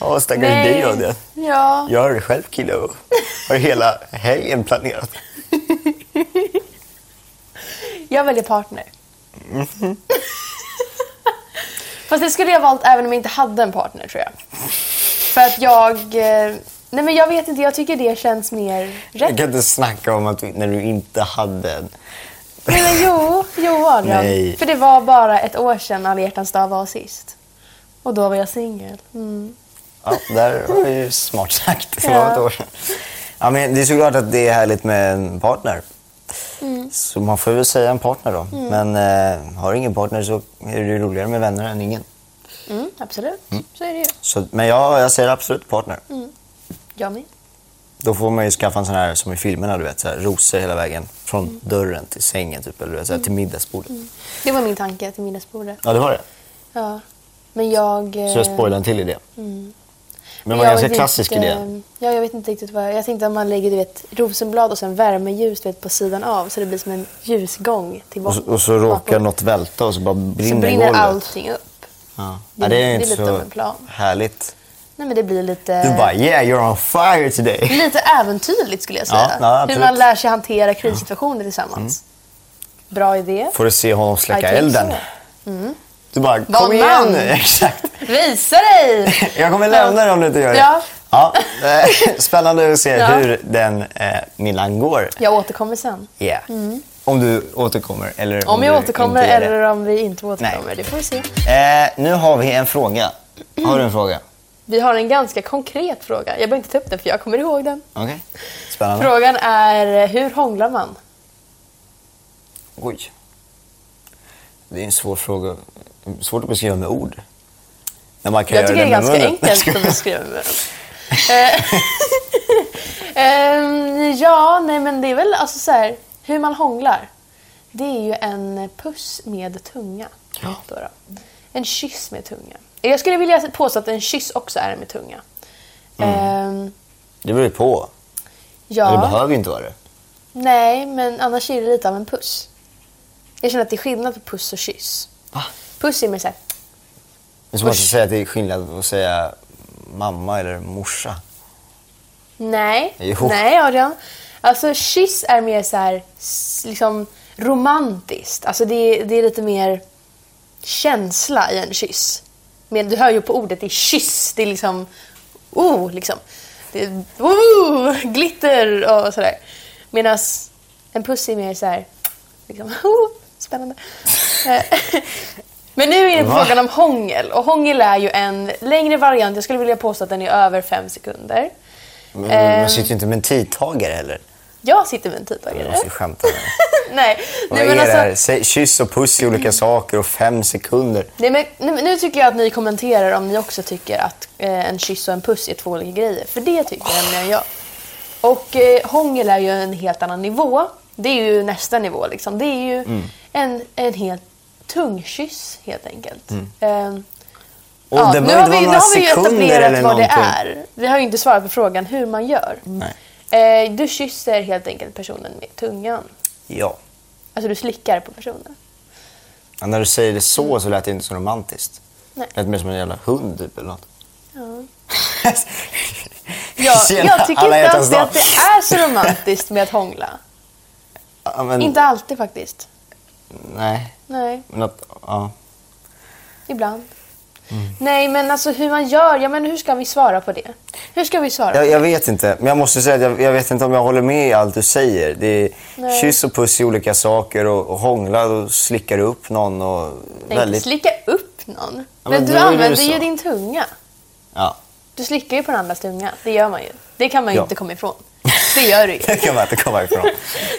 Speaker 3: Ja, stackars dig då. det.
Speaker 4: Ja.
Speaker 3: Jag är själv kille och har hela helgen planerat.
Speaker 4: Jag väljer partner.
Speaker 3: Mm-hmm.
Speaker 4: Fast det skulle jag valt även om jag inte hade en partner tror jag. För att jag... eh, Nej men jag vet inte, jag tycker det känns mer
Speaker 3: Jag
Speaker 4: rätt.
Speaker 3: kan inte snacka om att du, när du inte hade en.
Speaker 4: Nej men jo, jo Adrian.
Speaker 3: Nej.
Speaker 4: För det var bara ett år sedan Alla hjärtans dag var sist. Och då var jag singel. Mm.
Speaker 3: Ja, där var det ju smart sagt. Det var
Speaker 4: Ja.
Speaker 3: ett år sedan. Ja, men det är såklart att det är härligt med en partner.
Speaker 4: Mm.
Speaker 3: Så man får väl säga en partner då. Men eh, har du ingen partner så är det ju roligare med vänner än ingen.
Speaker 4: Mm, absolut, så är det ju.
Speaker 3: Så, men jag, jag säger absolut partner.
Speaker 4: Mm. Jag med.
Speaker 3: Då får man ju skaffa en sån här som i filmerna, du vet, så här, rosor hela vägen från
Speaker 4: Mm.
Speaker 3: dörren till sängen typ, eller du vet, så här, till middagsbordet.
Speaker 4: Det var min tanke till middagsbordet.
Speaker 3: Ja, det var det.
Speaker 4: Ja. Men jag... eh,
Speaker 3: Så jag spoilade en till idé. Men det var
Speaker 4: Mm. Jag
Speaker 3: en ganska
Speaker 4: vet
Speaker 3: klassisk
Speaker 4: inte,
Speaker 3: idé.
Speaker 4: Ja, jag vet inte riktigt vad... Jag tänkte att man lägger du vet, rosenblad och sen värmeljus du vet, på sidan av så det blir som en ljusgång till
Speaker 3: Och
Speaker 4: bak-
Speaker 3: så, och så råkar
Speaker 4: bakåt.
Speaker 3: något välta och så bara
Speaker 4: Så
Speaker 3: brinner,
Speaker 4: brinner
Speaker 3: golvet.
Speaker 4: allting upp.
Speaker 3: Ja.
Speaker 4: Det,
Speaker 3: Ja, det är ju
Speaker 4: det
Speaker 3: inte
Speaker 4: lite
Speaker 3: så
Speaker 4: av en plan. Eh.
Speaker 3: härligt.
Speaker 4: Nej, men det blir lite...
Speaker 3: Du bara “Yeah, you're on fire today”.
Speaker 4: Lite äventyrligt skulle jag säga.
Speaker 3: Ja, ja, Mm.
Speaker 4: Hur
Speaker 3: absolut.
Speaker 4: man lär sig hantera krissituationer tillsammans. Bra idé.
Speaker 3: Får du se honom släcka
Speaker 4: I think
Speaker 3: elden.
Speaker 4: so.
Speaker 3: Du bara “Kom
Speaker 4: Var
Speaker 3: igen
Speaker 4: Mm. man.
Speaker 3: nu!” Exakt.
Speaker 4: Visa dig!
Speaker 3: Jag kommer lämna dig om du inte gör det.
Speaker 4: Ja.
Speaker 3: Ja, eh, spännande att se
Speaker 4: Ja.
Speaker 3: hur den eh, Milan går.
Speaker 4: Jag återkommer sen.
Speaker 3: Yeah. Om du återkommer eller om,
Speaker 4: Mm. Om jag
Speaker 3: du
Speaker 4: återkommer
Speaker 3: inte gör det.
Speaker 4: eller om vi inte återkommer,
Speaker 3: Nej.
Speaker 4: det får vi se.
Speaker 3: Eh, nu har vi en fråga. Har du en fråga?
Speaker 4: Vi har en ganska konkret fråga. Jag behöver inte ta upp den för jag kommer ihåg den.
Speaker 3: Okej. Spännande.
Speaker 4: Frågan är, hur hånglar man?
Speaker 3: Oj. Det är en svår fråga. Svårt att beskriva med ord. När man kan
Speaker 4: Jag
Speaker 3: göra
Speaker 4: tycker det är
Speaker 3: med
Speaker 4: ganska
Speaker 3: munnen.
Speaker 4: enkelt att beskriva med dem. Ehm, ja, nej men det är väl alltså så här, hur man hånglar. Det är ju en puss med tunga. Då då. En kyss med tunga. Jag skulle vilja påstå att en kyss också är med tunga. Ehm,
Speaker 3: Det beror ju på. Men Mm. Det
Speaker 4: ja,
Speaker 3: behöver ju inte vara det.
Speaker 4: nej, men annars är det lite av en puss. Jag känner att det är skillnad på puss och kyss.
Speaker 3: Va?
Speaker 4: Puss är mer såhär,
Speaker 3: Men så måste jag
Speaker 4: Usch.
Speaker 3: säga att det är skillnad att säga mamma eller morsa.
Speaker 4: Nej.
Speaker 3: Jo.
Speaker 4: Nej, Adrian. Alltså kyss är mer så här, s- liksom romantiskt. Alltså det är, det är lite mer känsla i en kyss. Men du hör ju på ordet, det är kyss. Det är liksom, oh, liksom. Det är, oh, glitter och sådär. Medan en puss är mer så här, liksom, oh, spännande. Eh, Men nu är vi inne på
Speaker 3: Va?
Speaker 4: frågan om hångel. Och hångel är ju en längre variant. Jag skulle vilja påstå att den är över fem sekunder.
Speaker 3: Men
Speaker 4: Ehm.
Speaker 3: man sitter ju inte med en tidtagare heller.
Speaker 4: Jag sitter med en
Speaker 3: Jag
Speaker 4: tidtagare.
Speaker 3: måste ju skämta. med dig.
Speaker 4: nej,
Speaker 3: Vad
Speaker 4: nej,
Speaker 3: är
Speaker 4: men
Speaker 3: det här?
Speaker 4: alltså,
Speaker 3: Säg, kyss och puss i olika saker och fem sekunder.
Speaker 4: nej, men, nej, men nu tycker jag att ni kommenterar om ni också tycker att eh, en kyss och en puss är två olika grejer. För det tycker nämligen jag. Och eh, hångel är ju en helt annan nivå. Det är ju nästa nivå liksom. Det är ju
Speaker 3: Mm.
Speaker 4: en, en helt tungkyss helt enkelt. Eh,
Speaker 3: Mm. Och
Speaker 4: ja,
Speaker 3: det
Speaker 4: nu
Speaker 3: behöver
Speaker 4: har
Speaker 3: inte
Speaker 4: vi,
Speaker 3: vara
Speaker 4: nu
Speaker 3: några
Speaker 4: har vi ju
Speaker 3: sekunder eller
Speaker 4: etablerat vad
Speaker 3: någonting.
Speaker 4: det är. Vi har ju inte svarat på frågan hur man gör.
Speaker 3: Nej.
Speaker 4: Eh, du kysser helt enkelt personen med tungan.
Speaker 3: Ja.
Speaker 4: Alltså du slickar på personen.
Speaker 3: Ja, När du säger det så så lät det inte så romantiskt.
Speaker 4: Nej.
Speaker 3: Det lät mer som en jävla hund typ eller något.
Speaker 4: Ja.
Speaker 3: Tjena,
Speaker 4: Ja, jag tycker
Speaker 3: alla
Speaker 4: inte
Speaker 3: hjärtans
Speaker 4: alltid
Speaker 3: dag.
Speaker 4: att det är så romantiskt med att hångla.
Speaker 3: Ja, men,
Speaker 4: Inte alltid faktiskt.
Speaker 3: Nej,
Speaker 4: Nej,
Speaker 3: men att, ja.
Speaker 4: ibland.
Speaker 3: Mm.
Speaker 4: Nej, men alltså hur man gör. Ja, men hur ska vi svara på det? Hur ska vi svara?
Speaker 3: jag, jag vet inte. Men jag måste säga att jag, jag vet inte om jag håller med i allt du säger. Det är
Speaker 4: Nej.
Speaker 3: kyss och puss i olika saker och, och hångla och slickar du upp någon och
Speaker 4: Nej,
Speaker 3: väldigt...
Speaker 4: inte slicka upp någon.
Speaker 3: Ja,
Speaker 4: men
Speaker 3: men
Speaker 4: du
Speaker 3: då är det
Speaker 4: använder
Speaker 3: så.
Speaker 4: ju din tunga.
Speaker 3: ja.
Speaker 4: Du slickar ju på den andras tunga. Det gör man ju. Det kan man ju
Speaker 3: Ja.
Speaker 4: inte komma ifrån. Det gör du ju.
Speaker 3: Det kan man inte komma ifrån.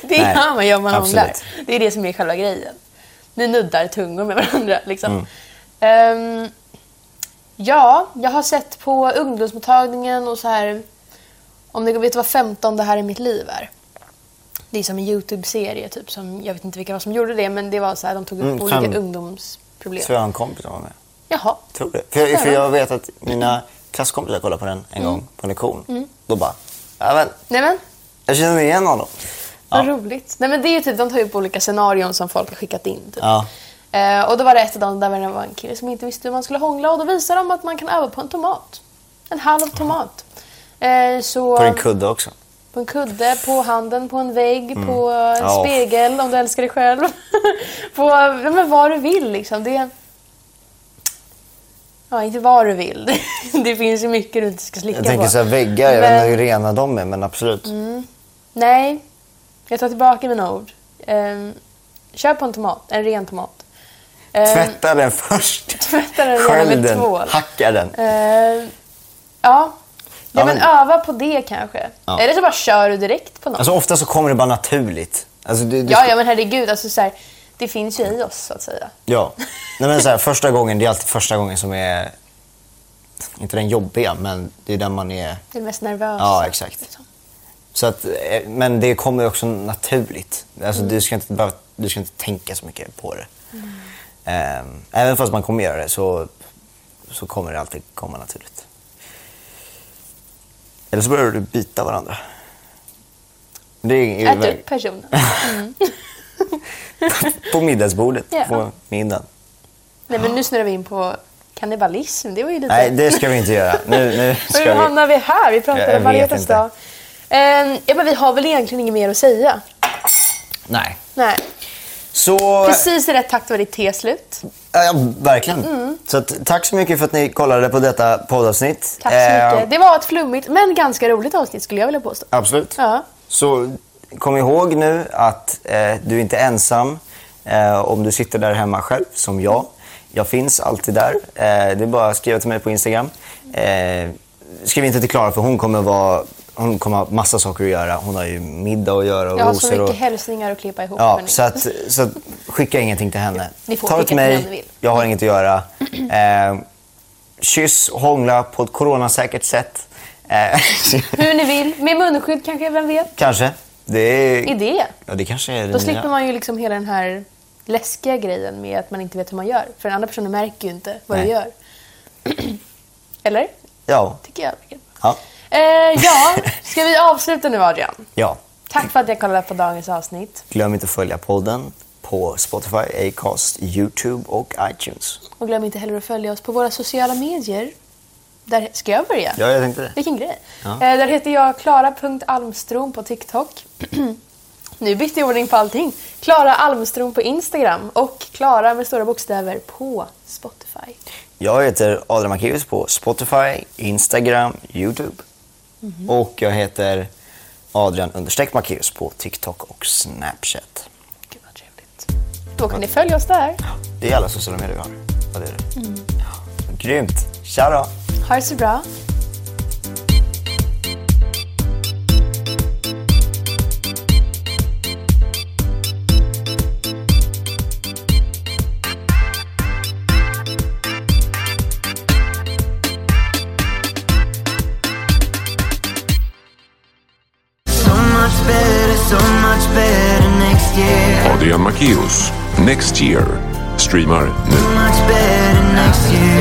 Speaker 4: Det
Speaker 3: Nej,
Speaker 4: gör man ju om man
Speaker 3: absolut.
Speaker 4: hånglar. Det är det som är själva grejen. Ni nuddar tungor med varandra. Liksom.
Speaker 3: Mm.
Speaker 4: Ehm, ja, jag har sett på ungdomsmottagningen och så här... Om ni vet vad 15 det här är mitt liv är. Det är som en YouTube-serie. Typ, som, jag vet inte vilka var som gjorde det, men det var så här, de tog upp
Speaker 3: Mm,
Speaker 4: olika
Speaker 3: fem.
Speaker 4: ungdomsproblem.
Speaker 3: Jag tror jag har en kompis som var med.
Speaker 4: Jaha.
Speaker 3: Tror det. För, för jag vet att mina klasskompisar kollade på den en
Speaker 4: Mm.
Speaker 3: gång på en lektion. Då bara, ja men,
Speaker 4: Nej, men,
Speaker 3: jag känner igen honom.
Speaker 4: vad
Speaker 3: Ja.
Speaker 4: roligt. Nej, men det är ju typ, de tar upp olika scenarion som folk har skickat in. Typ.
Speaker 3: Ja.
Speaker 4: Eh, och då var det ett av dem där det var en kille som inte visste hur man skulle hångla och då visade de att man kan öva på en tomat. En halv tomat. Eh, så
Speaker 3: På en kudde också.
Speaker 4: på en kudde, på handen, på en vägg, på en
Speaker 3: Ja.
Speaker 4: spegel om du älskar dig själv. på ja, men vad du vill liksom. Det... Ja, inte vad du vill. det finns ju mycket du inte ska slicka
Speaker 3: Jag tänker
Speaker 4: på.
Speaker 3: så här, väggar, jag
Speaker 4: Men-
Speaker 3: vet inte hur rena de är men absolut.
Speaker 4: Nej, jag tar tillbaka mina ord. Eh, kör på en tomat, en ren tomat. Eh,
Speaker 3: Tvätta den först.
Speaker 4: Tvätta den gärna
Speaker 3: Skölj
Speaker 4: med
Speaker 3: den.
Speaker 4: tvål.
Speaker 3: Hacka den.
Speaker 4: Eh, ja. Ja,
Speaker 3: Ja,
Speaker 4: men
Speaker 3: men-
Speaker 4: öva på det kanske.
Speaker 3: Ja.
Speaker 4: Eller så bara kör du direkt på något.
Speaker 3: Alltså ofta så kommer det bara naturligt. Alltså, du, du
Speaker 4: ja, ja, men herregud. Alltså, så här, det finns ju i oss, så att säga.
Speaker 3: Ja. Nej, men så här, första gången, det är alltid första gången som är, inte den jobbiga, men det är den man är.
Speaker 4: Det är mest nervösa.
Speaker 3: Ja, exakt.
Speaker 4: liksom.
Speaker 3: Så att, eh, men det kommer också naturligt. Alltså,
Speaker 4: Mm.
Speaker 3: du, ska inte behöva, du ska inte tänka så mycket på det. Ehm, även fast man kommer göra det så, så kommer det alltid komma naturligt. Eller så börjar du bita varandra. Det är,
Speaker 4: Ät upp Äh, personen.
Speaker 3: på middagsbordet,
Speaker 4: Ja.
Speaker 3: på middagen.
Speaker 4: Nej, men nu snurrar vi in på Kannibalism, det var ju lite...
Speaker 3: Nej, det ska vi inte göra. Nu, nu
Speaker 4: Men hur
Speaker 3: ska vi...
Speaker 4: hamnar vi här? Vi
Speaker 3: Jag-
Speaker 4: pratar
Speaker 3: jag
Speaker 4: om
Speaker 3: vet
Speaker 4: varje
Speaker 3: inte.
Speaker 4: dag. Eh, ja, men vi har väl egentligen inget mer att säga.
Speaker 3: Nej.
Speaker 4: Nej.
Speaker 3: Så...
Speaker 4: Precis i rätt takt var ditt te slut.
Speaker 3: Ja, ja, verkligen.
Speaker 4: Mm.
Speaker 3: Så att, tack så mycket för att ni kollade på detta poddavsnitt.
Speaker 4: Tack så
Speaker 3: Eh,
Speaker 4: mycket. Det var ett flummigt men ganska roligt avsnitt skulle jag vilja påstå.
Speaker 3: Absolut.
Speaker 4: Ja.
Speaker 3: Så kom ihåg nu att eh, du inte är ensam eh, om du sitter där hemma själv, som jag. Jag finns alltid där. Eh, det är bara att skriva till mig på Instagram. Eh, skriv inte till Klara för hon kommer vara hon kommer ha massa saker att göra. Hon har ju middag att göra och
Speaker 4: Jag har så
Speaker 3: rosor.
Speaker 4: mycket
Speaker 3: Och...
Speaker 4: hälsningar att klippa ihop.
Speaker 3: Ja,
Speaker 4: hörni.
Speaker 3: så, att, så att, skicka ingenting till henne.
Speaker 4: Ni får
Speaker 3: Ta det till
Speaker 4: skicka till
Speaker 3: mig,
Speaker 4: vem ni vill.
Speaker 3: jag har inget att göra. Eh, kyss, hångla på ett coronasäkert sätt. Eh,
Speaker 4: Hur ni vill. Med munskydd kanske, vem vet?
Speaker 3: kanske. Det är...
Speaker 4: Idé.
Speaker 3: Ja, det kanske är det
Speaker 4: Då
Speaker 3: nya.
Speaker 4: slipper man ju liksom hela den här läskiga grejen med att man inte vet hur man gör. För den andra personen märker ju inte vad du
Speaker 3: Nej.
Speaker 4: gör. Eller?
Speaker 3: Ja.
Speaker 4: Tycker jag.
Speaker 3: Ja.
Speaker 4: Eh, ja, ska vi avsluta nu Adrian?
Speaker 3: ja.
Speaker 4: Tack för att jag kollade på dagens avsnitt.
Speaker 3: Glöm inte att följa podden på Spotify, Acast, YouTube och iTunes.
Speaker 4: Och glöm inte heller att följa oss på våra sociala medier. Där ska jag börja?
Speaker 3: Ja, jag tänkte det.
Speaker 4: Vilken grej.
Speaker 3: Ja.
Speaker 4: Eh, där heter jag klara.almstrom på TikTok. nu bytte jag ordning på allting. Klara Almstrom på Instagram och Klara med stora bokstäver på Spotify.
Speaker 3: Jag heter Adrian Macéus på Spotify, Instagram, YouTube.
Speaker 4: Mhm.
Speaker 3: Och jag heter Adrian understreck Macéus på TikTok och Snapchat.
Speaker 4: Gud vad trevligt. Då kan ni följa oss där.
Speaker 3: Det är alla sociala medier vi har. Ja, det är det.
Speaker 4: Mm.
Speaker 3: Ja. Grymt. Tja då.
Speaker 4: Ha det så bra.
Speaker 1: So much better, so much better next year.
Speaker 2: Adrian Macius. Next year. Streamar nu.
Speaker 1: So much better next year.